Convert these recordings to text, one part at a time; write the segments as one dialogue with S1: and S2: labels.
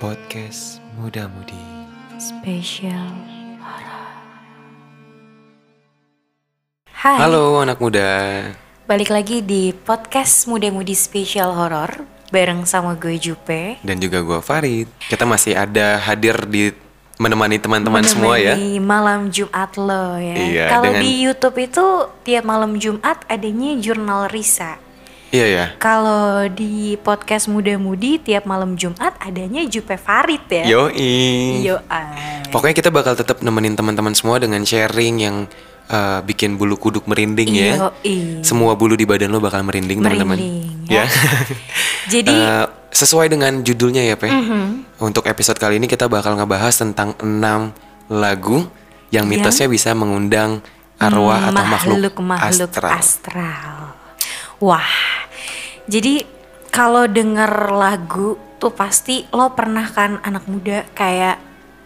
S1: Podcast Muda Mudi
S2: Spesial Hai,
S1: Halo anak muda
S2: balik lagi di podcast Muda Mudi Spesial Horor bareng sama gue Jupe.
S1: dan juga gua Farid Kita masih ada hadir di menemani teman-teman semua ya
S2: Menemani malam Jumat lo ya.
S1: Iya,
S2: Kalau
S1: dengan-
S2: di YouTube itu tiap malam Jumat adanya jurnal Risa.
S1: Iya ya
S2: Kalau di podcast Muda Mudi tiap malam Jumat adanya Jupe Farid ya.
S1: Yoi
S2: Yo. ay.
S1: Pokoknya kita bakal tetap nemenin teman-teman semua dengan sharing yang eh, bikin bulu kuduk merinding ya
S2: Yoi.
S1: Semua bulu di badan lo bakal merinding teman-teman
S2: Merinding,
S1: Ya
S2: Jadi
S1: Eh, sesuai dengan judulnya ya, Pe. Untuk episode kali ini kita bakal ngebahas tentang 6 lagu yang mitosnya bisa mengundang arwah atau makhluk,
S2: makhluk
S1: astral.
S2: astral. Wah, jadi kalau denger lagu tuh pasti lo pernah kan anak muda kayak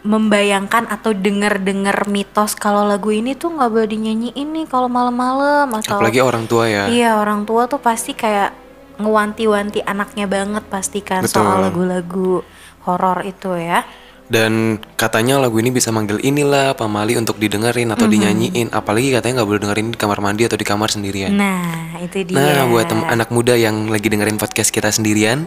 S2: membayangkan atau denger-denger mitos kalau lagu ini tuh nggak boleh dinyanyiin nih kalau malam-malam atau
S1: Apalagi orang tua ya.
S2: iya orang tua tuh pasti kayak ngewanti-wanti anaknya banget pasti kan
S1: Betul.
S2: soal lagu-lagu horor itu ya.
S1: Dan katanya lagu ini bisa manggil inilah pamali untuk didengerin atau dinyanyiin. Apalagi katanya nggak boleh dengerin di kamar mandi atau di kamar sendirian.
S2: Nah, itu dia.
S1: Ya. Nah, buat tem- anak muda yang lagi dengerin podcast kita sendirian,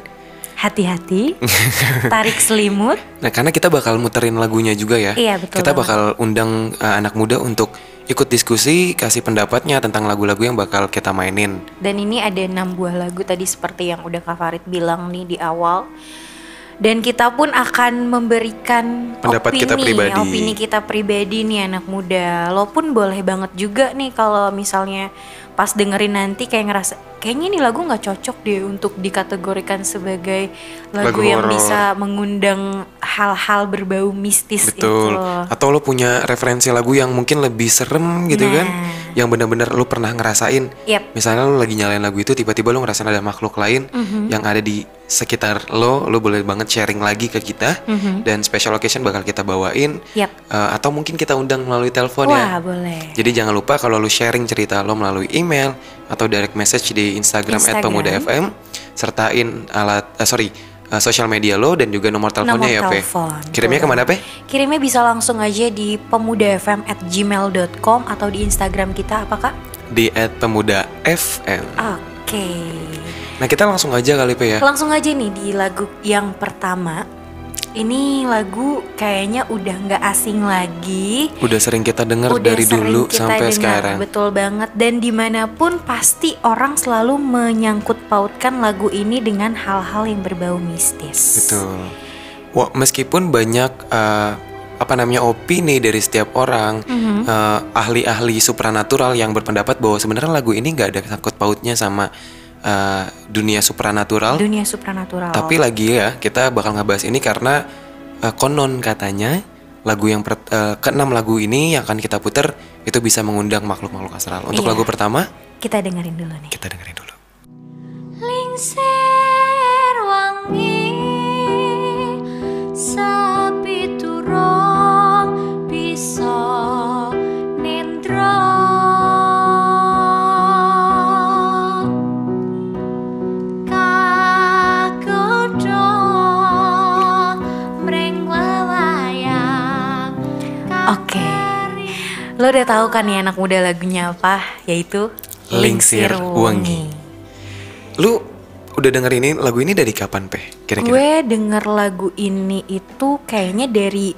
S2: Hati-hati, tarik selimut.
S1: Nah, karena kita bakal muterin lagunya juga ya.
S2: Iya, betul
S1: Kita
S2: banget.
S1: bakal undang uh, anak muda untuk ikut diskusi, kasih pendapatnya tentang lagu-lagu yang bakal kita mainin.
S2: Dan ini ada enam buah lagu tadi seperti yang udah Kak Farid bilang nih di awal. Dan kita pun akan memberikan
S1: Pendapat
S2: opini,
S1: kita pribadi.
S2: opini kita pribadi nih anak muda. Lo pun boleh banget juga nih kalau misalnya pas dengerin nanti kayak ngerasa kayaknya ini lagu nggak cocok deh untuk dikategorikan sebagai lagu,
S1: Lagu
S2: yang
S1: horor.
S2: bisa mengundang hal-hal berbau mistis
S1: Betul.
S2: itu.
S1: Atau lo punya referensi lagu yang mungkin lebih serem gitu
S2: Nah.
S1: kan? Yang benar-benar lo pernah ngerasain.
S2: Yap.
S1: Misalnya lo lagi nyalain lagu itu tiba-tiba lo ngerasain ada makhluk lain
S2: Mhm.
S1: yang ada di sekitar lo, lo boleh banget sharing lagi ke kita
S2: Mhm.
S1: dan special location bakal kita bawain.
S2: Yap.
S1: Uh, atau mungkin kita undang melalui telepon ya.
S2: Wah, boleh.
S1: Jadi jangan lupa kalau lu sharing cerita lo melalui email atau direct message di Instagram,
S2: Instagram.
S1: @pemudafm sertain alat eh, sorry eh, sosial media lo dan juga nomor teleponnya ya,
S2: Nomor
S1: Pe.
S2: telepon,
S1: Kirimnya
S2: betul.
S1: kemana, Pe?
S2: Kirimnya bisa langsung aja di pemudafm@gmail.com atau di Instagram kita apa kak?
S1: Di @pemudafm.
S2: Oke,
S1: Nah, kita langsung aja kali, Pe ya.
S2: langsung aja nih di lagu yang pertama. Ini lagu kayaknya udah nggak asing lagi.
S1: Udah sering kita dengar
S2: Udah
S1: dari
S2: sering
S1: dulu
S2: kita
S1: sampai
S2: dengar,
S1: sekarang.
S2: Betul banget. Dan dimanapun pasti orang selalu menyangkut pautkan lagu ini dengan hal-hal yang berbau mistis.
S1: Betul. Wah, meskipun banyak eh, apa namanya opini dari setiap orang,
S2: Mhm.
S1: eh, ahli-ahli supranatural yang berpendapat bahwa sebenarnya lagu ini nggak ada sangkut pautnya sama eh, dunia supranatural.
S2: Dunia supranatural.
S1: Tapi lagi ya, kita bakal ngebahas ini karena eh, konon katanya lagu yang per, eh, keenam lagu ini yang akan kita puter itu bisa mengundang makhluk-makhluk astral. Untuk
S2: Iya.
S1: lagu pertama,
S2: kita dengerin dulu nih.
S1: kita dengerin dulu.
S3: Lingsir wangi sapi turong bisa nendro kagodo mring wewayang
S2: Oke. Lo udah tahu kan ya anak muda lagunya apa? Yaitu
S1: Lingsir Wangi. Lu udah dengerin ini lagu ini dari kapan, Peh? Kira-kira?
S2: Gue denger lagu ini itu kayaknya dari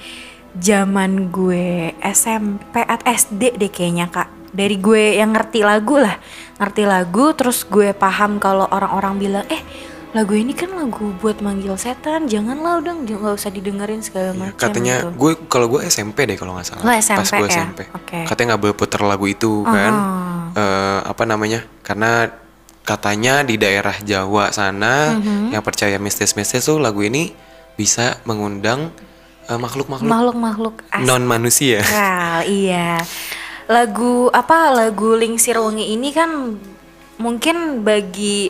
S2: zaman gue SMP at SD deh kayaknya kak. Dari gue yang ngerti lagu lah, ngerti lagu terus gue paham kalau orang-orang bilang eh lagu ini kan lagu buat manggil setan, janganlah udah j- nggak usah didengerin
S1: Ya,
S2: segala macam.
S1: katanya
S2: gitu.
S1: gue kalau gue SMP deh kalau nggak salah
S2: Lo
S1: pas
S2: SMP
S1: gue
S2: ya?
S1: SMP
S2: Oke. Uh-huh.
S1: katanya nggak boleh puter lagu itu kan Eh, apa namanya karena katanya di daerah Jawa sana
S2: Uh-huh.
S1: yang percaya mistis-mistis tuh lagu ini bisa mengundang eh, makhluk-makhluk
S2: makhluk-makhluk astral.
S1: non manusia
S2: Astral, iya. Lagu apa lagu Lingsir Wangi ini kan mungkin bagi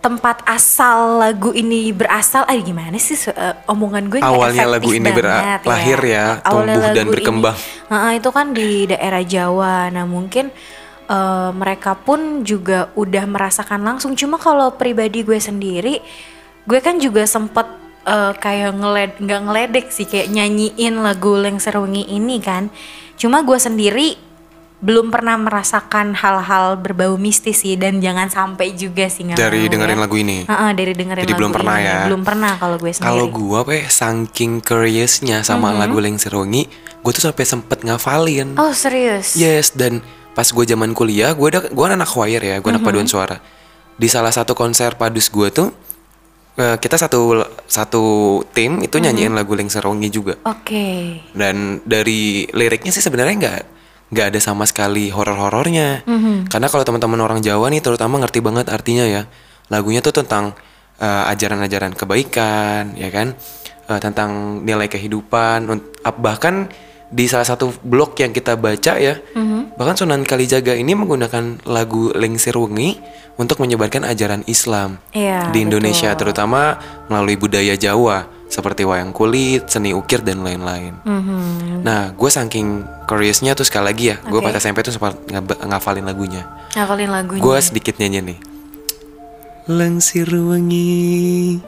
S2: tempat asal lagu ini berasal ah gimana sih so- eh, omongan gue nggak
S1: Awalnya
S2: efektif
S1: lagu ini bera-
S2: banget
S1: lahir ya, tumbuh dan
S2: lagu
S1: berkembang.
S2: ini, Heeh, itu kan di daerah Jawa nah mungkin eh, mereka pun juga udah merasakan langsung cuma kalau pribadi gue sendiri gue kan juga sempet eh, kayak ngeled nggak ngeledek sih kayak nyanyiin lagu Leng Serungi ini kan. Cuma gue sendiri belum pernah merasakan hal-hal berbau mistis sih dan jangan sampai juga sih nggak
S1: Dari
S2: mau ya.
S1: dengerin lagu ini?
S2: Heeh, dari dengerin
S1: Jadi
S2: lagu
S1: belum pernah
S2: ini.
S1: ya?
S2: Belum pernah kalau gue sendiri. Uh-huh.
S1: Kalau gua pe saking curiousnya sama lagu Leng Serongi, gue tuh sampai sempet ngafalin.
S2: Oh serius?
S1: Yes, dan pas gue zaman kuliah, gue ada gue anak choir ya, gue anak paduan suara. Di salah satu konser padus gue tuh eh, kita satu satu tim itu nyanyiin lagu Leng Serongi juga.
S2: Oke.
S1: Dan dari liriknya sih sebenarnya nggak nggak ada sama sekali horor-horornya.
S2: Mhm.
S1: Karena kalau teman-teman orang Jawa nih terutama ngerti banget artinya ya. Lagunya tuh tentang eh, ajaran-ajaran kebaikan, ya kan? Eh, tentang nilai kehidupan. Unt- ap- Bahkan di salah satu blog yang kita baca ya,
S2: Mhm.
S1: bahkan Sunan Kalijaga ini menggunakan lagu Lengsir Wengi untuk menyebarkan ajaran Islam
S2: Iya,
S1: di Indonesia,
S2: betul.
S1: terutama melalui budaya Jawa seperti wayang kulit, seni ukir dan lain-lain.
S2: Mhm.
S1: Nah, gue saking curiousnya tuh sekali lagi ya, gue
S2: Oke. Oh, iya.
S1: pas SMP tuh sempat nge- ngafalin lagunya.
S2: Ngafalin lagunya.
S1: Gue sedikit nyanyi nih. Lengsir wengi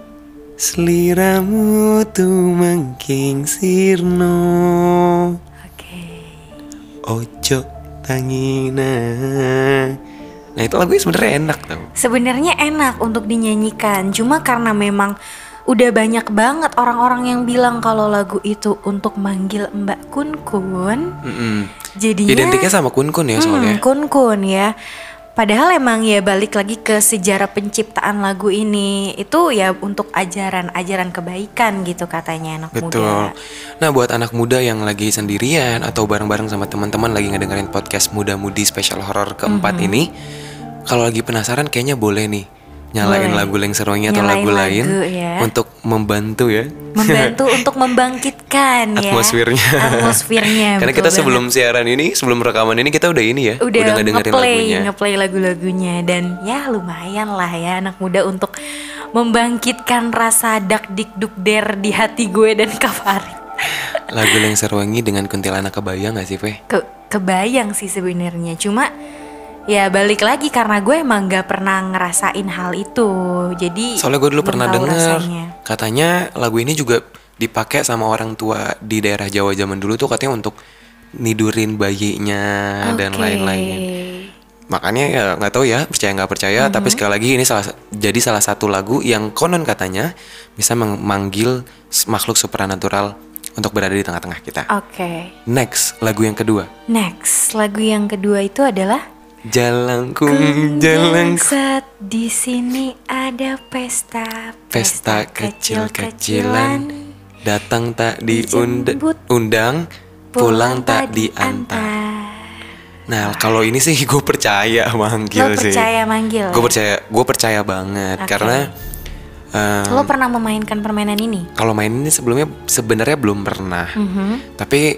S1: seliramu tuh mengking sirno
S2: Oke.
S1: ojo tangina. Nah itu lagunya sebenarnya enak tau.
S2: Sebenarnya enak untuk dinyanyikan, cuma karena memang udah banyak banget orang-orang yang bilang kalau lagu itu untuk manggil Mbak Kun Kun.
S1: Mm-mm.
S2: Jadinya
S1: Identiknya sama kun kun ya soalnya.
S2: Iya. Hmm, Kun Kun ya. Padahal emang ya balik lagi ke sejarah penciptaan lagu ini itu ya untuk ajaran-ajaran kebaikan gitu katanya anak
S1: Betul.
S2: muda.
S1: Nah, buat anak muda yang lagi sendirian atau bareng-bareng sama teman-teman lagi ngedengerin podcast Muda Mudi Special Horror
S2: Mm-hmm.
S1: keempat ini, kalau lagi penasaran kayaknya boleh nih nyalain
S2: Boleh.
S1: lagu Leng Serongi atau
S2: Nyalain
S1: lagu lain
S2: lagu ya.
S1: untuk membantu ya
S2: Membantu untuk membangkitkan ya
S1: atmosfernya.
S2: Atmosfernya.
S1: Karena
S2: Iya, betul
S1: kita
S2: banget.
S1: sebelum siaran ini, sebelum rekaman ini kita udah ini ya,
S2: udah,
S1: ngedengerin
S2: ngeplay
S1: lagunya.
S2: ngeplay lagu-lagunya dan ya lumayan lah ya anak muda untuk membangkitkan rasa dak dik duk der di hati gue dan Kafari.
S1: Lagu Leng Serongi dengan kuntilanak kebayang gak sih, Pe?
S2: Ke kebayang sih sebenarnya cuma ya balik lagi karena gue emang gak pernah ngerasain hal itu jadi
S1: Soalnya gue dulu
S2: belum
S1: pernah
S2: tahu
S1: denger
S2: rasanya.
S1: Katanya lagu ini juga dipakai sama orang tua di daerah Jawa zaman dulu tuh katanya untuk nidurin bayinya Nah, dan
S2: Oke.
S1: lain-lainnya Makanya ya nggak tahu ya percaya nggak percaya
S2: Mhm.
S1: Tapi sekali lagi ini salah sa- jadi salah satu lagu yang konon katanya Bisa memanggil makhluk supranatural untuk berada di tengah-tengah kita
S2: oke
S1: Next, lagu yang kedua
S2: next lagu yang kedua itu adalah
S1: Jalangkung, jalangkung
S2: Saat di sini ada pesta,
S1: pesta kecil-kecilan datang tak diundang
S2: Dijemput,
S1: undang pulang tak diantar nah kalau ini sih gue percaya manggil
S2: Lo
S1: sih
S2: percaya manggil?
S1: gue
S2: ya?
S1: percaya gue percaya banget
S2: Oke.
S1: karena eh,
S2: Lo pernah memainkan permainan ini?
S1: kalau main ini sebelumnya sebenarnya belum pernah tapi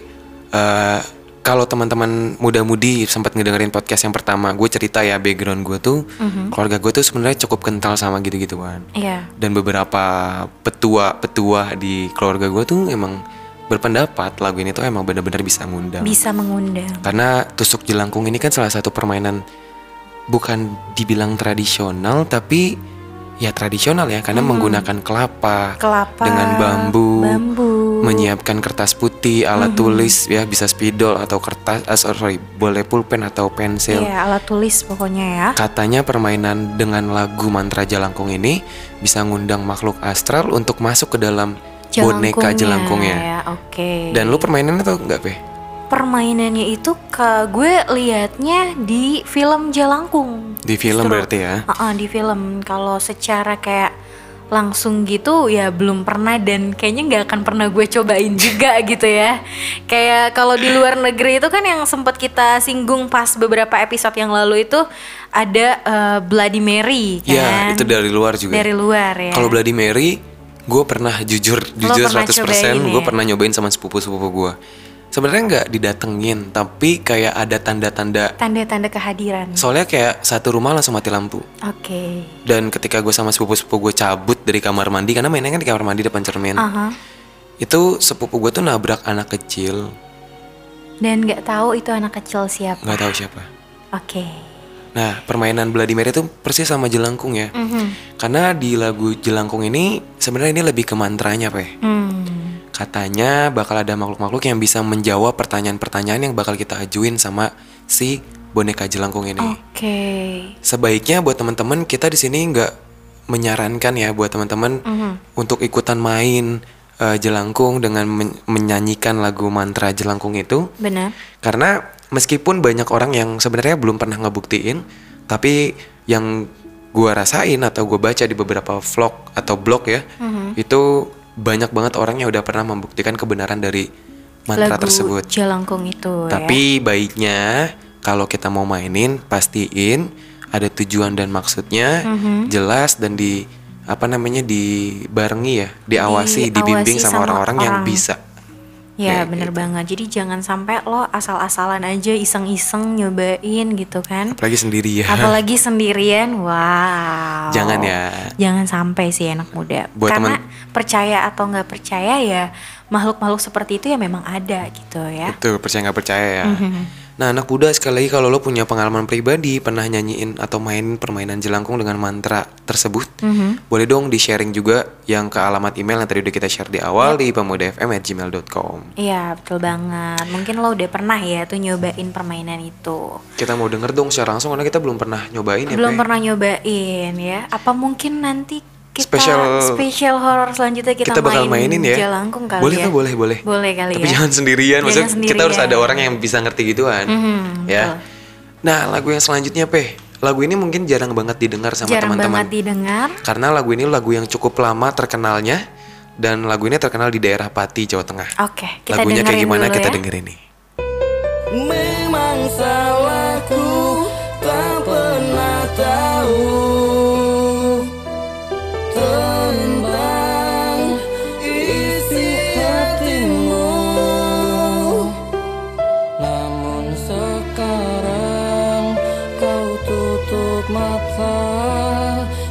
S1: eh, kalau teman-teman muda-mudi sempat ngedengerin podcast yang pertama gue cerita ya background gue tuh keluarga gue tuh sebenarnya cukup kental sama gitu-gituan
S2: Iya.
S1: dan beberapa petua-petua di keluarga gue tuh emang berpendapat lagu ini tuh emang benar-benar bisa ngundang.
S2: Bisa mengundang.
S1: Karena tusuk jelangkung ini kan salah satu permainan bukan dibilang tradisional tapi ya tradisional ya karena menggunakan kelapa,
S2: Hmm. Kelapa.
S1: dengan bambu,
S2: Bambu. Hmm.
S1: menyiapkan kertas putih, alat tulis ya bisa spidol atau kertas, ah, sorry boleh pulpen atau pensil.
S2: Iya, alat tulis pokoknya ya.
S1: Katanya permainan dengan lagu mantra Jalangkung ini bisa ngundang makhluk astral untuk masuk ke dalam boneka Jelangkungnya.
S2: Jelangkungnya, ya, Oke.
S1: Dan lu permainannya tau nggak, Pe?
S2: permainannya itu ke gue liatnya di film Jalangkung.
S1: Di film
S2: Justru.
S1: berarti ya.
S2: Heeh, uh-uh, di film kalau secara kayak langsung gitu ya belum pernah dan kayaknya nggak akan pernah gue cobain juga gitu ya kayak kalau di luar negeri itu kan yang sempat kita singgung pas beberapa episode yang lalu itu ada eh, Bloody Mary kan
S1: Ya, itu dari luar juga.
S2: dari luar ya
S1: Kalau Bloody Mary, gue pernah jujur jujur
S2: pernah
S1: 100%
S2: cobain
S1: gue
S2: ya?
S1: pernah nyobain sama sepupu-sepupu gue. Sebenarnya nggak didatengin, tapi kayak ada tanda-tanda.
S2: tanda-tanda kehadiran oke
S1: Soalnya kayak satu rumah langsung mati lampu. Dan ketika gue sama sepupu-sepupu gue cabut dari kamar mandi karena mainnya kan di kamar mandi depan cermin.
S2: aha.
S1: itu sepupu gue tuh nabrak anak kecil
S2: dan nggak tahu itu anak kecil siapa
S1: nggak tahu siapa
S2: oke
S1: Nah, permainan Vladimir itu persis sama jelangkung ya.
S2: Mhm.
S1: Karena di lagu jelangkung ini sebenarnya ini lebih ke mantranya, Peh.
S2: Hmm.
S1: Katanya bakal ada makhluk-makhluk yang bisa menjawab pertanyaan-pertanyaan yang bakal kita ajuin sama si boneka jelangkung ini.
S2: Oke.
S1: Sebaiknya buat teman-teman kita di sini nggak menyarankan ya buat teman-teman
S2: Mhm.
S1: untuk ikutan main eh, jelangkung dengan men- menyanyikan lagu mantra jelangkung itu.
S2: Benar.
S1: Karena meskipun banyak orang yang sebenarnya belum pernah ngebuktiin, tapi yang gua rasain atau gue baca di beberapa vlog atau blog ya,
S2: Mhm.
S1: itu banyak banget orang yang udah pernah membuktikan kebenaran dari mantra
S2: Lagu
S1: tersebut.
S2: Jalangkung itu ya.
S1: Tapi baiknya kalau kita mau mainin pastiin ada tujuan dan maksudnya
S2: Mhm.
S1: jelas dan di apa namanya dibarengi ya, diawasi,
S2: Diawasi
S1: dibimbing sama
S2: sama
S1: orang-orang yang
S2: orang.
S1: bisa.
S2: Ya,
S1: kayak
S2: bener banget. Jadi jangan sampai lo asal-asalan aja iseng-iseng nyobain gitu kan.
S1: Apalagi sendiri ya.
S2: Apalagi sendirian, wow.
S1: Jangan ya.
S2: Jangan sampai sih anak muda.
S1: Buat
S2: Karena
S1: teman-
S2: percaya atau nggak percaya ya makhluk-makhluk seperti itu ya memang ada gitu ya. Mm-hmm.
S1: Betul, percaya nggak percaya ya. Nah anak muda sekali lagi kalau lo punya pengalaman pribadi pernah nyanyiin atau main permainan jelangkung dengan mantra tersebut,
S2: Mm-hmm.
S1: boleh dong di sharing juga yang ke alamat email yang tadi udah kita share di awal di pemudafm@gmail.com.
S2: Iya betul banget. Mungkin lo udah pernah ya tuh nyobain permainan itu.
S1: Kita mau denger dong secara langsung karena kita belum pernah nyobain ya.
S2: Belum
S1: Pe.
S2: pernah nyobain ya. Apa mungkin nanti kita
S1: Special-
S2: special horror selanjutnya kita,
S1: Kita bakal mainin ya.
S2: Jalangkung kali
S1: boleh
S2: ya.
S1: tuh, boleh, boleh.
S2: Boleh kali
S1: Tapi
S2: ya.
S1: jangan sendirian,
S2: Jangan
S1: maksudnya kita harus ada
S2: sendirian.
S1: orang yang bisa ngerti gituan.
S2: Mhm,
S1: ya. Nah lagu yang selanjutnya peh, lagu ini mungkin jarang banget didengar sama
S2: Jarang banget
S1: teman-teman.
S2: didengar.
S1: Karena lagu ini lagu yang cukup lama terkenalnya dan lagu ini terkenal di daerah Pati, Jawa Tengah.
S2: Oke, kita
S1: Lagunya kayak
S2: dengerin
S1: gimana
S2: dulu
S1: kita
S2: ya.
S1: dengerin nih.
S4: Memang salahku tak pernah tahu tentang isi hatimu Namun sekarang kau tutup mata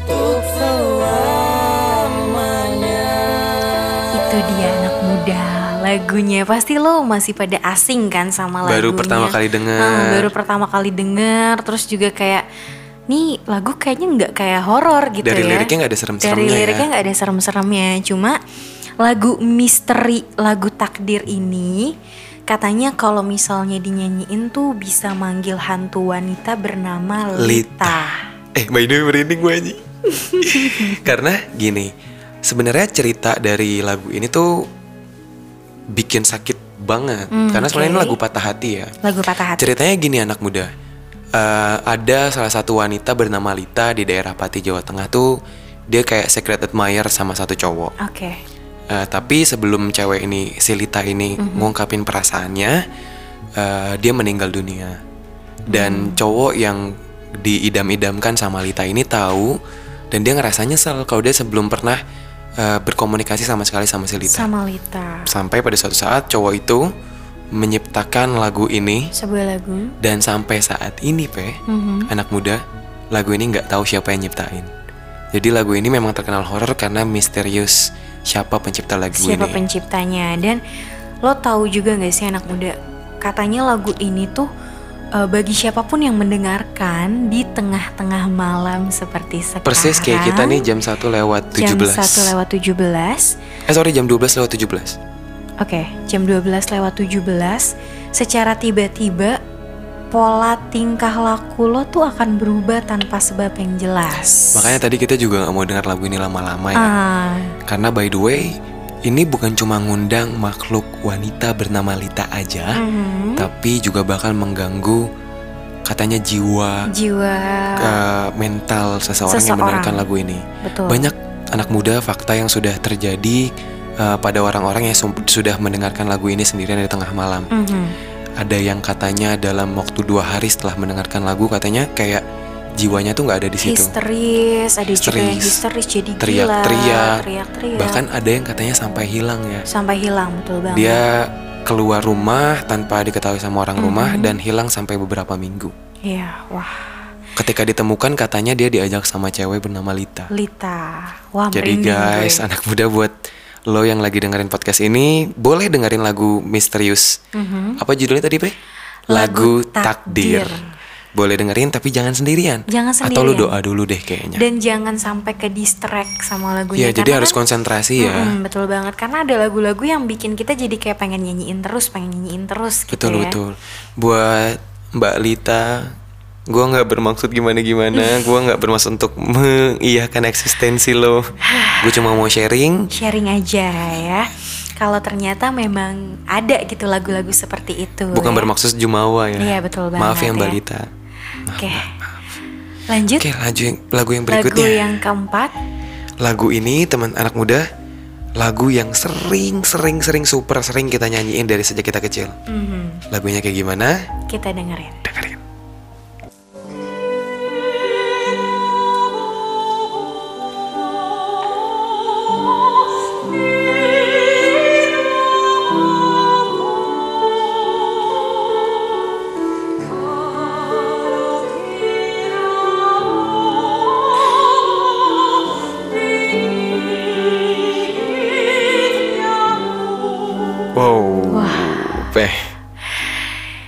S4: untuk selamanya
S2: Itu dia anak muda lagunya pasti lo masih pada asing kan sama lagunya
S1: Baru pertama kali denger.
S2: Ah, baru pertama kali denger terus juga kayak nih lagu kayaknya nggak kayak horor gitu
S1: Dari
S2: ya
S1: liriknya nggak ada serem-seremnya
S2: dari
S1: ya.
S2: liriknya nggak ada serem-seremnya cuma lagu misteri lagu takdir ini katanya kalau misalnya dinyanyiin tuh bisa manggil hantu wanita bernama Lita.
S1: Eh, by the way merinding gue anjing. Karena gini, sebenarnya cerita dari lagu ini tuh bikin sakit banget.
S2: Hmm,
S1: Karena sebenarnya ini
S2: oke.
S1: lagu patah hati ya.
S2: lagu patah hati
S1: Ceritanya gini anak muda. Eh, ada salah satu wanita bernama Lita di daerah Pati Jawa Tengah tuh dia kayak secret admirer sama satu cowok.
S2: oke
S1: Eh, tapi sebelum cewek ini si Lita ini ngungkapin perasaannya, eh, dia meninggal dunia. Dan cowok yang diidam-idamkan sama Lita ini tahu dan dia ngerasa nyesel kalau dia sebelum pernah eh, berkomunikasi sama sekali sama si Lita.
S2: sama Lita
S1: Sampai pada suatu saat cowok itu menyiptakan lagu ini
S2: sebuah lagu
S1: dan sampai saat ini Pe, anak muda, lagu ini nggak tahu siapa yang nyiptain. Jadi lagu ini memang terkenal horor karena misterius siapa pencipta lagu
S2: siapa
S1: ini.
S2: penciptanya dan lo tahu juga nggak sih anak muda katanya lagu ini tuh eh, bagi siapapun yang mendengarkan di tengah-tengah malam seperti sekarang
S1: Persis kayak kita nih jam 1 lewat 17.
S2: jam 1 lewat 17
S1: Eh sorry jam 12 lewat 17.
S2: oke jam 12 lewat 17 secara tiba-tiba pola tingkah laku lo tuh akan berubah tanpa sebab yang jelas
S1: Makanya tadi kita juga nggak mau dengar lagu ini lama-lama ya.
S2: ah
S1: Karena by the way, ini bukan cuma ngundang makhluk wanita bernama Lita aja,
S2: mhm.
S1: tapi juga bakal mengganggu katanya jiwa
S2: jiwa
S1: eh, mental seseorang, yang
S2: Ah. Seseorang.
S1: mendengarkan lagu ini.
S2: betul
S1: Banyak anak muda fakta yang sudah terjadi eh, pada orang-orang yang sum- sudah mendengarkan lagu ini sendirian di tengah malam.
S2: Mhm.
S1: ada yang katanya dalam waktu dua hari setelah mendengarkan lagu katanya kayak jiwanya tuh nggak ada di situ
S2: histeris, ada juga yang
S1: gitu. Histeris.
S2: histeris jadi gila,
S1: Teriak-teriak.
S2: teriak-teriak,
S1: bahkan ada yang katanya sampai hilang ya
S2: sampai hilang betul banget.
S1: dia keluar rumah tanpa diketahui sama orang rumah
S2: Mhm.
S1: dan hilang sampai beberapa minggu
S2: Iya, wah,
S1: ketika ditemukan katanya dia diajak sama cewek bernama Lita
S2: Lita, wah
S1: jadi
S2: merinding
S1: guys
S2: gue.
S1: anak muda buat lo yang lagi dengerin podcast ini boleh dengerin lagu misterius
S2: Mhm.
S1: apa judulnya tadi Pri?
S2: Lagu Takdir.
S1: boleh dengerin tapi jangan sendirian.
S2: Jangan
S1: Atau lu
S2: sendirian.
S1: doa dulu deh kayaknya.
S2: Dan jangan sampai ke distract sama
S1: Iya,
S2: lagunya.
S1: jadi
S2: karena
S1: harus
S2: kan-
S1: konsentrasi ya.
S2: Mm-mm, betul banget karena ada lagu-lagu yang bikin kita jadi kayak pengen nyanyiin terus, pengen nyanyiin terus gitu
S1: Betul
S2: ya.
S1: betul. Buat Mbak Lita, gua nggak bermaksud gimana-gimana, gua nggak bermaksud untuk mengiyakan eksistensi lo. Gue cuma mau sharing.
S2: Sharing aja ya. Kalau ternyata memang ada gitu lagu-lagu seperti itu.
S1: Bukan
S2: ya.
S1: bermaksud jumawa ya.
S2: Iya, betul
S1: Maaf
S2: banget
S1: ya Mbak
S2: ya.
S1: Lita.
S2: Oke. Lanjut
S1: Oke, lanjut yang- lagu yang
S2: lagu
S1: berikutnya. Lagu,
S2: yang keempat.
S1: ini teman anak muda, lagu yang sering sering sering super sering kita nyanyiin dari sejak kita kecil.
S2: Mhm,
S1: Lagunya kayak gimana?
S2: Kita dengerin.
S1: Dengerin. Wow. Peh.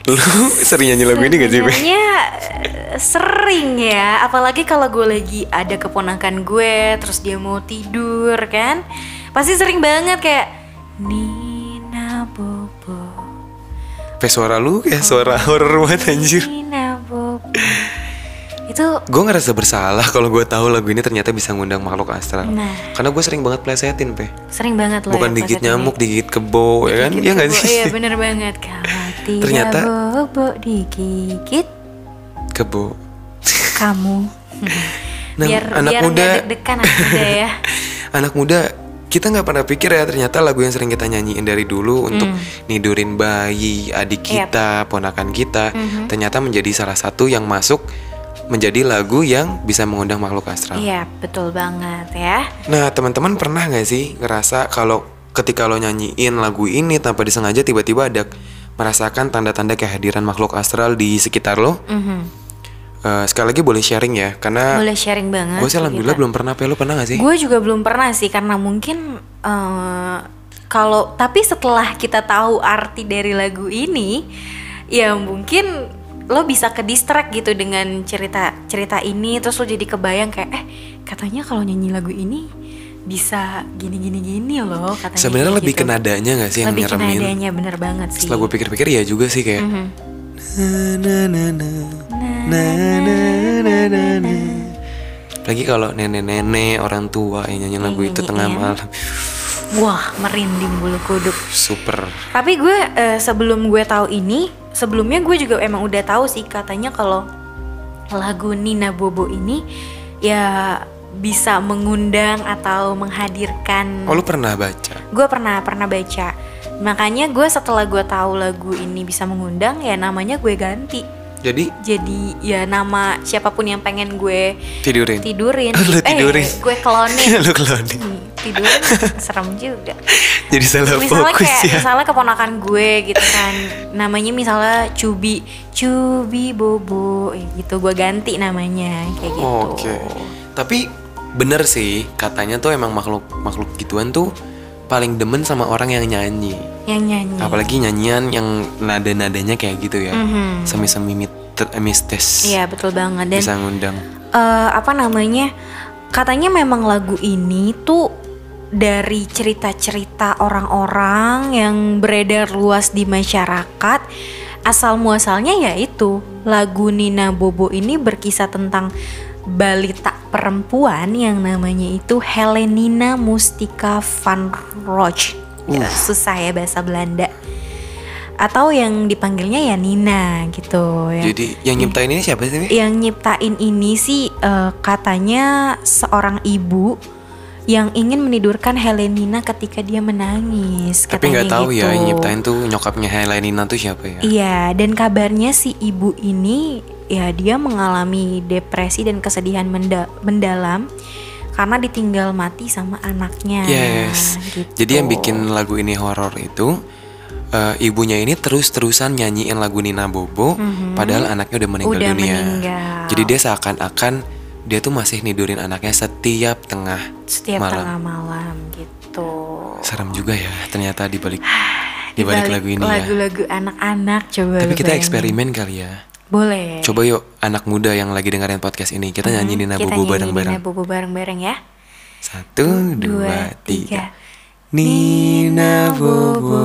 S1: Lu sering nyanyi lagu ini gak sih, Peh?
S2: Sebenarnya eh, sering ya, apalagi kalau gue lagi ada keponakan gue, terus dia mau tidur kan, pasti sering banget kayak Nina Bobo,
S1: Peh suara lu
S2: Oh.
S1: kayak suara horor banget anjir.
S2: Nina Bobo. Itu
S1: Gue ngerasa bersalah kalau gue tahu lagu ini ternyata bisa ngundang makhluk astral.
S2: Nah.
S1: Karena gue sering banget plesetin, Peh.
S2: sering banget loh.
S1: Bukan
S2: ya,
S1: digigit
S2: pas itu
S1: nyamuk,
S2: di-
S1: digigit kebo, ya kan?
S2: digigit
S1: Iya gak
S2: kebo.
S1: sih?
S2: Iya bener banget Kalau tidak
S1: Ternyata-
S2: Bobo digigit
S1: Kebo.
S2: kamu.
S1: Nah,
S2: biar
S1: anak
S2: biar
S1: muda-
S2: nggak deg-degan anak muda ya.
S1: Anak muda, kita nggak pernah pikir ya ternyata lagu yang sering kita nyanyiin dari dulu untuk
S2: Hmm.
S1: nidurin bayi, adik
S2: Yap.
S1: kita, ponakan kita,
S2: Mhm.
S1: ternyata menjadi salah satu yang masuk menjadi lagu yang bisa mengundang makhluk astral.
S2: Iya betul banget ya.
S1: Nah, teman-teman pernah nggak sih ngerasa kalau ketika lo nyanyiin lagu ini tanpa disengaja tiba-tiba ada merasakan tanda-tanda kehadiran makhluk astral di sekitar lo?
S2: Mhm.
S1: Eh, sekali lagi boleh sharing ya, karena
S2: Boleh sharing banget. iya.
S1: gue sih alhamdulillah belum pernah. Pe, lo pernah nggak sih?
S2: Gue juga belum pernah sih karena mungkin eh, kalau tapi setelah kita tahu arti dari lagu ini, ya mungkin lo bisa ke distract gitu dengan cerita cerita ini terus lo jadi kebayang kayak eh katanya kalau nyanyi lagu ini bisa gini gini gini loh katanya.
S1: Sebenarnya
S2: kayak
S1: lebih
S2: gitu.
S1: ke nadanya nggak sih yang
S2: lebih ke
S1: nyeremin?
S2: nadanya, bener banget sih.
S1: Setelah gue pikir-pikir ya juga sih kayak.
S2: Mhm.
S1: Na, na, na, na, na, na, na, na. Lagi kalau nenek-nenek orang tua yang nyanyi lagu itu
S2: Nyanyiin.
S1: tengah malam,
S2: Wah merinding bulu kuduk.
S1: super.
S2: Tapi gue eh, sebelum gue tahu ini, sebelumnya gue juga emang udah tahu sih katanya kalau lagu Nina Bobo ini ya bisa mengundang atau menghadirkan.
S1: Oh lu pernah baca?
S2: Gue pernah pernah baca. Makanya gue setelah gue tahu lagu ini bisa mengundang ya namanya gue ganti.
S1: Jadi
S2: Jadi ya nama siapapun yang pengen gue
S1: tidurin.
S2: tidurin,
S1: Lu tidurin.
S2: eh gue klonin.
S1: lu kelonin.
S2: Hmm, tidurin serem juga
S1: Jadi salah
S2: misalnya
S1: fokus
S2: kayak
S1: ya.
S2: misalnya keponakan gue gitu kan namanya misalnya Cubi Cubi Bobo eh, gitu gue ganti namanya kayak gitu
S1: Oh, Oke. Tapi bener sih katanya tuh emang makhluk makhluk gituan tuh paling demen sama orang yang nyanyi.
S2: yang nyanyi
S1: Apalagi nyanyian yang nada-nadanya kayak gitu ya.
S2: Mhm.
S1: Semi-semi mit- eh, mistis.
S2: iya betul banget dan
S1: Bisa ngundang.
S2: eh, apa namanya katanya memang lagu ini tuh dari cerita-cerita orang-orang yang beredar luas di masyarakat asal muasalnya yaitu lagu Nina Bobo ini berkisah tentang balita perempuan yang namanya itu Helenina Mustika van Roch Ya, susah ya bahasa Belanda atau yang dipanggilnya ya Nina gitu ya Iya,
S1: Jadi yang nyiptain ini siapa sih? Mi?
S2: yang nyiptain ini sih eh, katanya seorang ibu yang ingin menidurkan Helenina ketika dia menangis.
S1: Tapi nggak
S2: katanya
S1: tahu
S2: gitu.
S1: ya yang nyiptain tuh nyokapnya Helenina tuh siapa ya?
S2: Iya, dan kabarnya si ibu ini ya dia mengalami depresi dan kesedihan menda- mendalam karena ditinggal mati sama anaknya.
S1: Yes.
S2: gitu.
S1: Jadi yang bikin lagu ini horor itu eh, ibunya ini terus-terusan nyanyiin lagu Nina Bobo padahal anaknya udah meninggal
S2: Mhm. Udah
S1: dunia.
S2: meninggal.
S1: Jadi dia seakan-akan dia tuh masih nidurin anaknya setiap tengah
S2: setiap
S1: malam.
S2: tengah malam gitu.
S1: Serem juga ya ternyata
S2: Ah,
S1: di balik di balik lagu ini ya.
S2: lagu-lagu anak-anak coba
S1: Tapi
S2: lu
S1: kita
S2: bayangin.
S1: eksperimen kali ya.
S2: Boleh.
S1: Coba yuk anak muda yang lagi dengerin podcast ini kita nyanyi Nah, Nina
S2: Mhm, Kita
S1: Bobo
S2: nyanyi
S1: bareng-bareng.
S2: Nina Bobo bareng-bareng ya.
S1: Satu, dua, tiga. Nina Bobo,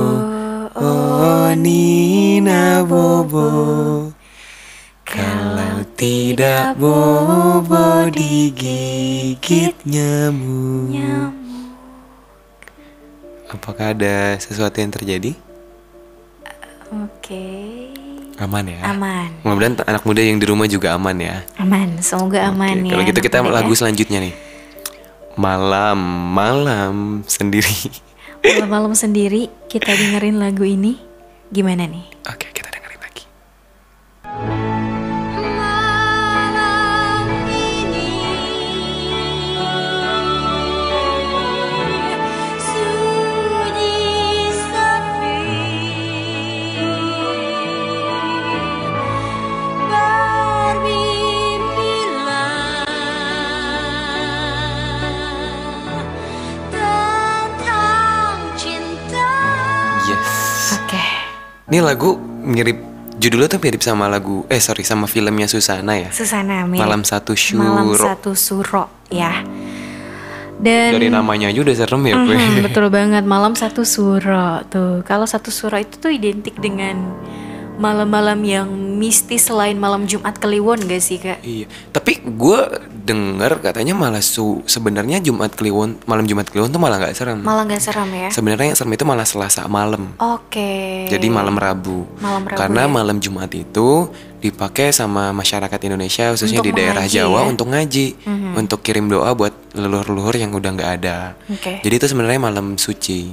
S1: oh Nina Bobo. Kalau tidak Bobo digigit nyamuk. Apakah ada sesuatu yang terjadi?
S2: Oke.
S1: Aman ya?
S2: Aman.
S1: Mudah-mudahan anak muda yang di rumah juga aman ya.
S2: Aman. Semoga aman
S1: Oke,
S2: ya.
S1: Kalau gitu
S2: anak
S1: kita
S2: muda ya.
S1: lagu selanjutnya nih. Malam, malam sendiri.
S2: malam-malam sendiri kita dengerin lagu ini. Gimana nih?
S1: Oke, kita dengerin lagi.
S3: Malam ini sunyi sepi, bermimpilah tentang cinta.
S1: Yes.
S2: Oke.
S1: Ini lagu mirip judulnya tuh mirip sama lagu eh sorry sama filmnya Susana ya.
S2: Susana Amir.
S1: Malam satu syuro.
S2: Malam satu suro ya. Dan
S1: Dari namanya aja udah serem ya, gue.
S2: Mhm, betul banget malam satu suro tuh. Kalau satu suro itu tuh identik dengan malam-malam yang mistis selain malam Jumat Kliwon gak sih kak?
S1: Iya, tapi gue denger katanya malah su sebenarnya Jumat Kliwon malam Jumat Kliwon tuh malah nggak serem.
S2: Malah gak seram ya?
S1: Sebenarnya yang serem itu malah Selasa malam.
S2: Oke.
S1: Jadi malam Rabu.
S2: Malam Rabu,
S1: Karena
S2: ya.
S1: malam Jumat itu dipakai sama masyarakat Indonesia khususnya
S2: Untuk
S1: di daerah
S2: mengaji,
S1: Jawa
S2: ya?
S1: untuk ngaji, untuk kirim doa buat leluhur-leluhur yang udah nggak ada.
S2: Oke.
S1: Jadi itu sebenarnya malam suci.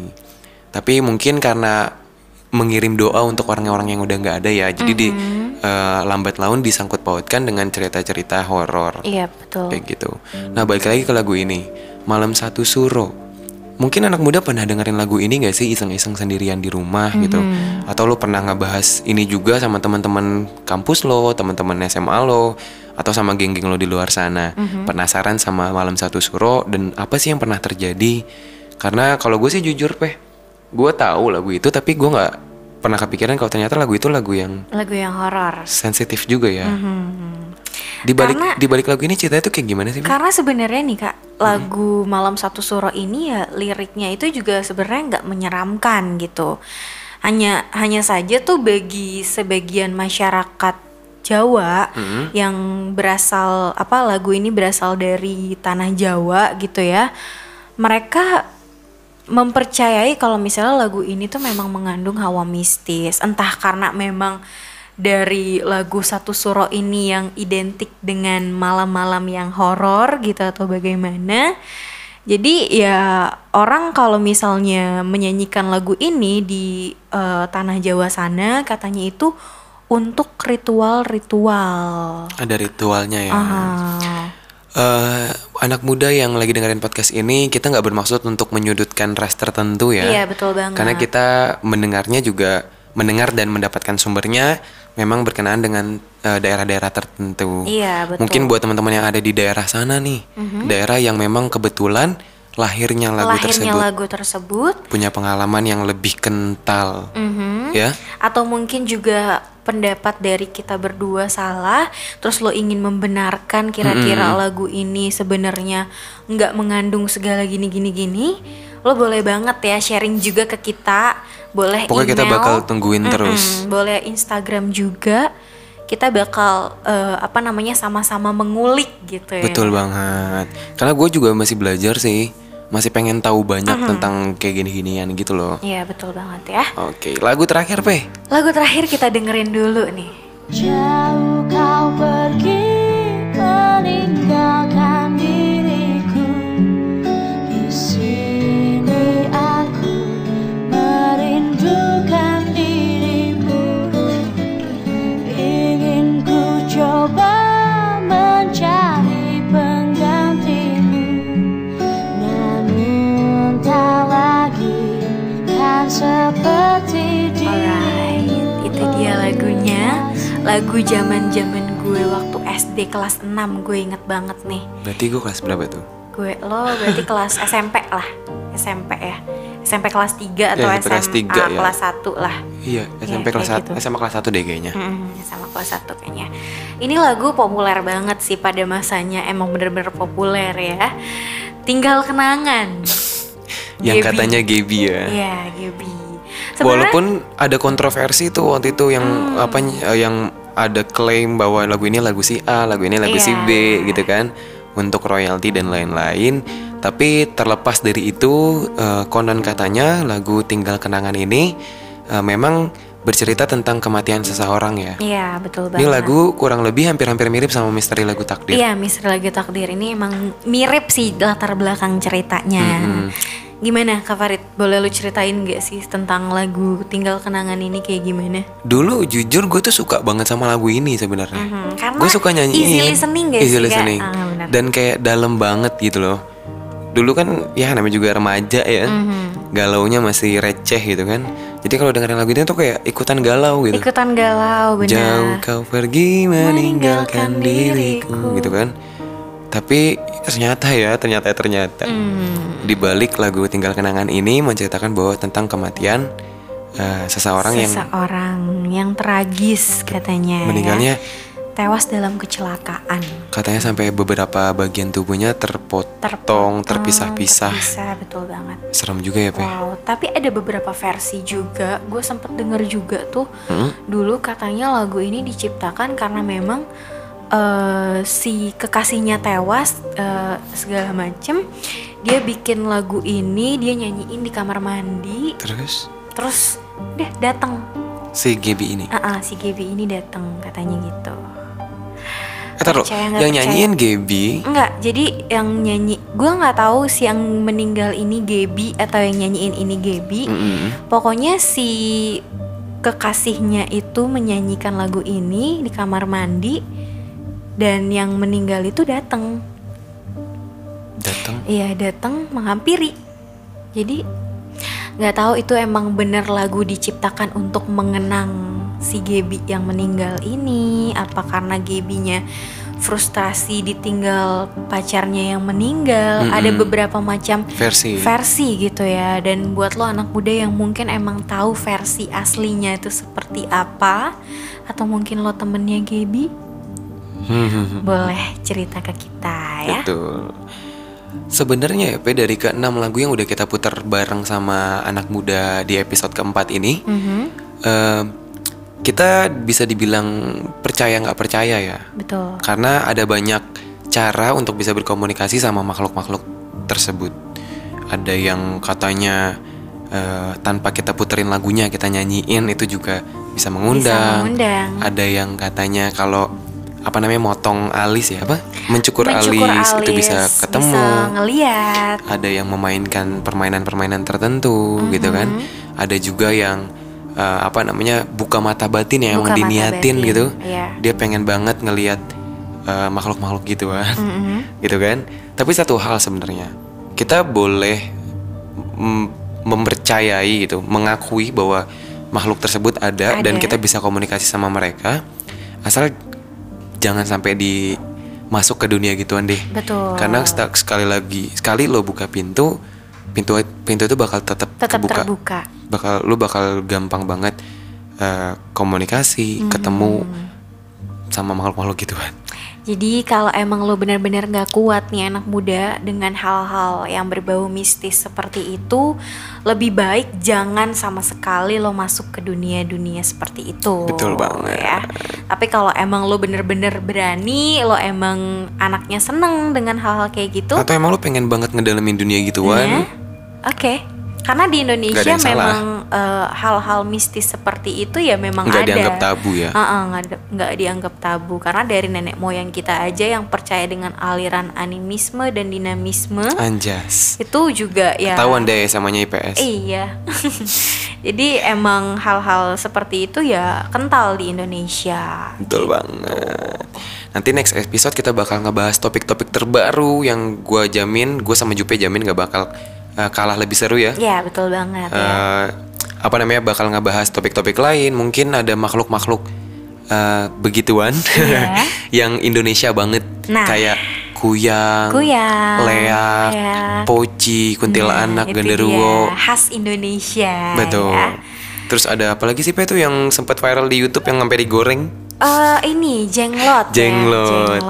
S1: Tapi mungkin karena mengirim doa untuk orang-orang yang udah nggak ada ya, jadi di
S2: Mhm.
S1: eh, lambat laun disangkut pautkan dengan cerita-cerita horor
S2: Iya betul.
S1: kayak gitu. Nah balik lagi ke lagu ini Malam Satu Suro. Mungkin anak muda pernah dengerin lagu ini gak sih iseng-iseng sendirian di rumah gitu? Atau lo pernah ngebahas ini juga sama teman-teman kampus lo, teman-teman SMA lo, atau sama geng-geng lo di luar sana? Penasaran sama Malam Satu Suro dan apa sih yang pernah terjadi? Karena kalau gue sih jujur peh, gue tahu lagu itu tapi gue nggak pernah kepikiran kalau ternyata lagu itu lagu yang
S2: Lagu yang horor.
S1: sensitif juga ya. Di balik
S2: Hmm. Karena-
S1: di balik lagu ini ceritanya tuh kayak gimana sih? Beb?
S2: Karena sebenarnya nih kak, lagu Malam Satu Suro ini ya liriknya itu juga sebenarnya nggak menyeramkan gitu. Hanya hanya saja tuh bagi sebagian masyarakat Jawa yang berasal apa lagu ini berasal dari tanah Jawa gitu ya, mereka mempercayai kalau misalnya lagu ini tuh memang mengandung hawa mistis entah karena memang dari lagu satu suro ini yang identik dengan malam-malam yang horor gitu atau bagaimana jadi ya orang kalau misalnya menyanyikan lagu ini di eh, tanah Jawa sana katanya itu untuk ritual-ritual
S1: Ada ritualnya ya.
S2: Ah,
S1: Eh, anak muda yang lagi dengerin podcast ini, kita nggak bermaksud untuk menyudutkan ras tertentu ya.
S2: Iya, betul banget.
S1: Karena kita mendengarnya juga mendengar dan mendapatkan sumbernya memang berkenaan dengan eh, daerah-daerah tertentu.
S2: Iya, betul. Mhm.
S1: Mungkin buat teman-teman yang ada di daerah sana nih, daerah yang memang kebetulan lahirnya lagu
S2: lahirnya
S1: tersebut
S2: lagu tersebut Mhm.
S1: punya pengalaman yang lebih kental, ya.
S2: atau mungkin juga pendapat dari kita berdua salah terus lo ingin membenarkan kira-kira lagu ini sebenarnya nggak mengandung segala gini gini gini lo boleh banget ya sharing juga ke kita boleh
S1: Pokoknya kita
S2: email. Mhm.
S1: bakal tungguin terus.
S2: boleh Instagram juga kita bakal eh, apa namanya sama-sama mengulik gitu ya
S1: Betul banget. Karena gue juga masih belajar sih, masih pengen tahu banyak tentang kayak gini-ginian gitu loh.
S2: Iya betul banget ya
S1: Oke, lagu terakhir Pe.
S2: lagu terakhir kita dengerin dulu nih
S3: Jauh kau pergi meninggalkan diriku Di sini aku merindukan dirimu Ingin ku coba mencari penggantimu Namun tak lagi kan seperti
S2: Alright,
S3: dirimu
S2: itu dia lagunya. Lagu zaman-zaman gue waktu SD kelas 6 gue inget banget nih.
S1: Berarti gue kelas berapa tuh?
S2: Gue lo berarti kelas SMP lah, SMP ya. SMP kelas 3 atau
S1: Ya, SMP
S2: SMA
S1: kelas
S2: kelas,
S1: tiga ya.
S2: satu 1 lah.
S1: Iya, SMP
S2: kayak
S1: kelas sat-
S2: gitu.
S1: SMA kelas 1 deh kayaknya.
S2: Mm, sama kelas 1 kayaknya. Ini lagu populer banget sih pada masanya, emang bener-bener populer ya. Tinggal kenangan.
S1: Yang
S2: Gaby.
S1: katanya Gaby ya.
S2: Iya, Gaby.
S1: Walaupun ada kontroversi tuh waktu itu yang
S2: Hmm.
S1: apa eh, yang ada klaim bahwa lagu ini lagu si A, lagu ini lagu si
S2: Iya.
S1: B gitu kan untuk royalti dan lain-lain. Tapi terlepas dari itu eh, konon katanya lagu Tinggal Kenangan ini eh, memang bercerita tentang kematian seseorang ya.
S2: Iya, betul banget.
S1: Ini lagu kurang lebih hampir-hampir mirip sama misteri lagu takdir.
S2: Iya, Misteri Lagu Takdir ini emang mirip sih latar belakang ceritanya. Gimana Kak Farid? Boleh lu ceritain gak sih tentang lagu Tinggal Kenangan ini kayak gimana?
S1: Dulu jujur gue tuh suka banget sama lagu ini sebenarnya.
S2: Mhm, karena
S1: gue suka nyanyiin.
S2: easy listening gak
S1: Easy
S2: sih, Kak?
S1: listening.
S2: Ah, benar.
S1: Dan kayak dalam banget gitu loh. Dulu kan ya namanya juga remaja ya.
S2: Mhm.
S1: Galaunya masih receh gitu kan. Jadi kalau dengerin lagu ini tuh kayak ikutan galau gitu.
S2: Ikutan galau benar.
S1: Jauh kau pergi meninggalkan
S2: Meninggalkan
S1: diriku
S2: diriku.
S1: gitu kan. Tapi ternyata ya, ternyata ternyata
S2: Mm.
S1: di balik lagu Tinggal Kenangan ini menceritakan bahwa tentang kematian eh, seseorang yang
S2: Seseorang yang tragis katanya. ya.
S1: meninggalnya
S2: tewas dalam kecelakaan.
S1: katanya sampai beberapa bagian tubuhnya terpotong, terpisah-pisah.
S2: Ah, Terpisah, betul banget.
S1: Serem juga ya, Pe.
S2: Wow, tapi ada beberapa versi juga. Gue sempet denger juga tuh.
S1: Hmm?
S2: Dulu katanya lagu ini diciptakan karena memang eh, si kekasihnya tewas eh, segala macem. Dia bikin lagu ini, dia nyanyiin di kamar mandi.
S1: Terus
S2: Terus deh datang.
S1: si Gaby ini.
S2: Ah, ah, si Gaby ini datang katanya gitu.
S1: Eh, taruh,
S2: percaya nggak
S1: yang
S2: percaya.
S1: nyanyiin Gaby.
S2: Enggak, jadi yang nyanyi, gue nggak tahu si yang meninggal ini Gaby atau yang nyanyiin ini Gaby.
S1: Mm-mm.
S2: Pokoknya si kekasihnya itu menyanyikan lagu ini di kamar mandi dan yang meninggal itu datang.
S1: Datang.
S2: Iya, datang menghampiri. Jadi nggak tahu itu emang bener lagu diciptakan untuk mengenang si Gebi yang meninggal ini apa karena Gebinya frustrasi ditinggal pacarnya yang meninggal
S1: Mm-mm.
S2: ada beberapa macam
S1: Versi.
S2: versi gitu ya dan buat lo anak muda yang mungkin emang tahu versi aslinya itu seperti apa atau mungkin lo temennya Gebi
S1: Hmm,
S2: boleh cerita ke kita ya
S1: Betul. Sebenarnya ya, Pe, dari keenam lagu yang udah kita putar bareng sama anak muda di episode keempat ini,
S2: Mhm,
S1: eh, kita bisa dibilang percaya nggak percaya ya.
S2: betul
S1: Karena ada banyak cara untuk bisa berkomunikasi sama makhluk-makhluk tersebut. Ada yang katanya eh, tanpa kita puterin lagunya kita nyanyiin itu juga bisa
S2: Bisa
S1: mengundang.
S2: mengundang.
S1: Ada yang katanya kalau apa namanya motong alis ya apa? Mencukur,
S2: Mencukur
S1: alis, itu bisa ketemu.
S2: bisa ngeliat
S1: Ada yang memainkan permainan-permainan tertentu
S2: Mm-hmm.
S1: gitu kan. Ada juga yang eh, apa namanya buka mata batin ya
S2: Buka
S1: emang
S2: mata
S1: diniatin
S2: batin,
S1: gitu.
S2: iya.
S1: Dia pengen banget ngelihat eh, makhluk-makhluk gitu kan.
S2: Mhm.
S1: gitu kan. Tapi satu hal sebenarnya kita boleh mem- mempercayai gitu, mengakui bahwa makhluk tersebut ada,
S2: Ada.
S1: dan kita bisa komunikasi sama mereka asal jangan sampai di masuk ke dunia gituan deh.
S2: Betul.
S1: Karena sta- sekali lagi sekali lo buka pintu, pintu pintu itu bakal tetap
S2: tetap
S1: kebuka.
S2: terbuka
S1: Bakal lo bakal gampang banget eh, komunikasi, ketemu sama makhluk-makhluk gitu, gituan.
S2: Jadi kalau emang lo benar-benar nggak kuat nih anak muda dengan hal-hal yang berbau mistis seperti itu, lebih baik jangan sama sekali lo masuk ke dunia-dunia seperti itu.
S1: Betul banget.
S2: Ya. Tapi kalau emang lo benar-benar berani, lo emang anaknya seneng dengan hal-hal kayak gitu,
S1: Atau emang lu pengen banget ngedalamin dunia gitu,
S2: ya,
S1: gituan?
S2: oke. Karena di Indonesia
S1: yang salah.
S2: memang eh, hal-hal mistis seperti itu ya memang
S1: Nggak
S2: ada.
S1: dianggap tabu ya.
S2: Heeh, nggak ada- nggak dianggap tabu karena dari nenek moyang kita aja yang percaya dengan aliran animisme dan dinamisme
S1: Anjas.
S2: itu juga ya
S1: Ketahuan deh samanya IPS.
S2: iya jadi emang hal-hal seperti itu ya kental di Indonesia
S1: Betul banget. Nanti next episode kita bakal ngebahas topik-topik terbaru yang gua jamin, gua sama Jupe jamin gak bakal eh, kalah lebih seru ya.
S2: ya betul banget ya.
S1: Eh, apa namanya bakal ngebahas topik-topik lain. Mungkin ada makhluk-makhluk eh, begituan
S2: Iya.
S1: yang Indonesia banget
S2: Nah.
S1: kayak kuyang,
S2: Kuyang,
S1: leak,
S2: leak.
S1: poci, kuntilanak,
S2: Nah, itu
S1: genderuwo.
S2: dia, khas Indonesia.
S1: Betul.
S2: ya.
S1: Terus ada apa lagi sih Pe tuh yang sempat viral di YouTube yang sampai digoreng?
S2: Eh, ini jenglot. ya,
S1: Jenglot.
S2: jenglot.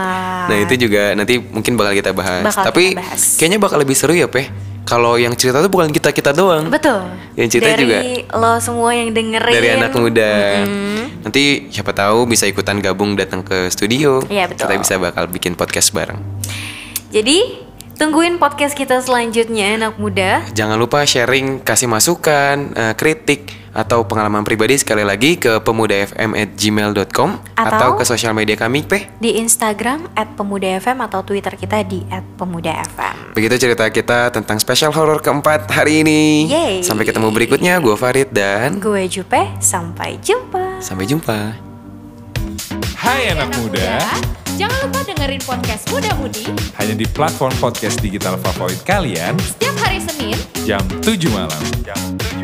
S1: Nah, itu juga nanti mungkin bakal kita bahas.
S2: Bakal
S1: Tapi
S2: kita bahas.
S1: kayaknya bakal lebih seru ya, Pe. Kalau yang cerita tuh bukan kita-kita doang.
S2: Betul.
S1: Yang cerita
S2: dari
S1: juga.
S2: lo semua yang dengerin.
S1: Dari anak muda.
S2: Mm-mm.
S1: Nanti siapa tahu bisa ikutan gabung datang ke studio.
S2: Iya, betul.
S1: Kita bisa bakal bikin podcast bareng.
S2: Jadi tungguin podcast kita selanjutnya anak muda.
S1: Jangan lupa sharing, kasih masukan, eh, kritik atau pengalaman pribadi sekali lagi ke pemudafm@gmail.com atau,
S2: Atau
S1: ke sosial media kami, Peh.
S2: Di Instagram @pemudafm atau Twitter kita di @pemudafm.
S1: Begitu cerita kita tentang special horror keempat hari ini.
S2: Yeay.
S1: Sampai ketemu berikutnya, gue Farid dan
S2: Gue Jupe, sampai jumpa.
S1: sampai jumpa.
S5: Hai anak muda,
S6: Jangan lupa dengerin podcast Muda Mudi
S5: hanya di platform podcast digital favorit kalian
S6: setiap hari Senin
S5: jam 7 malam. Jam 7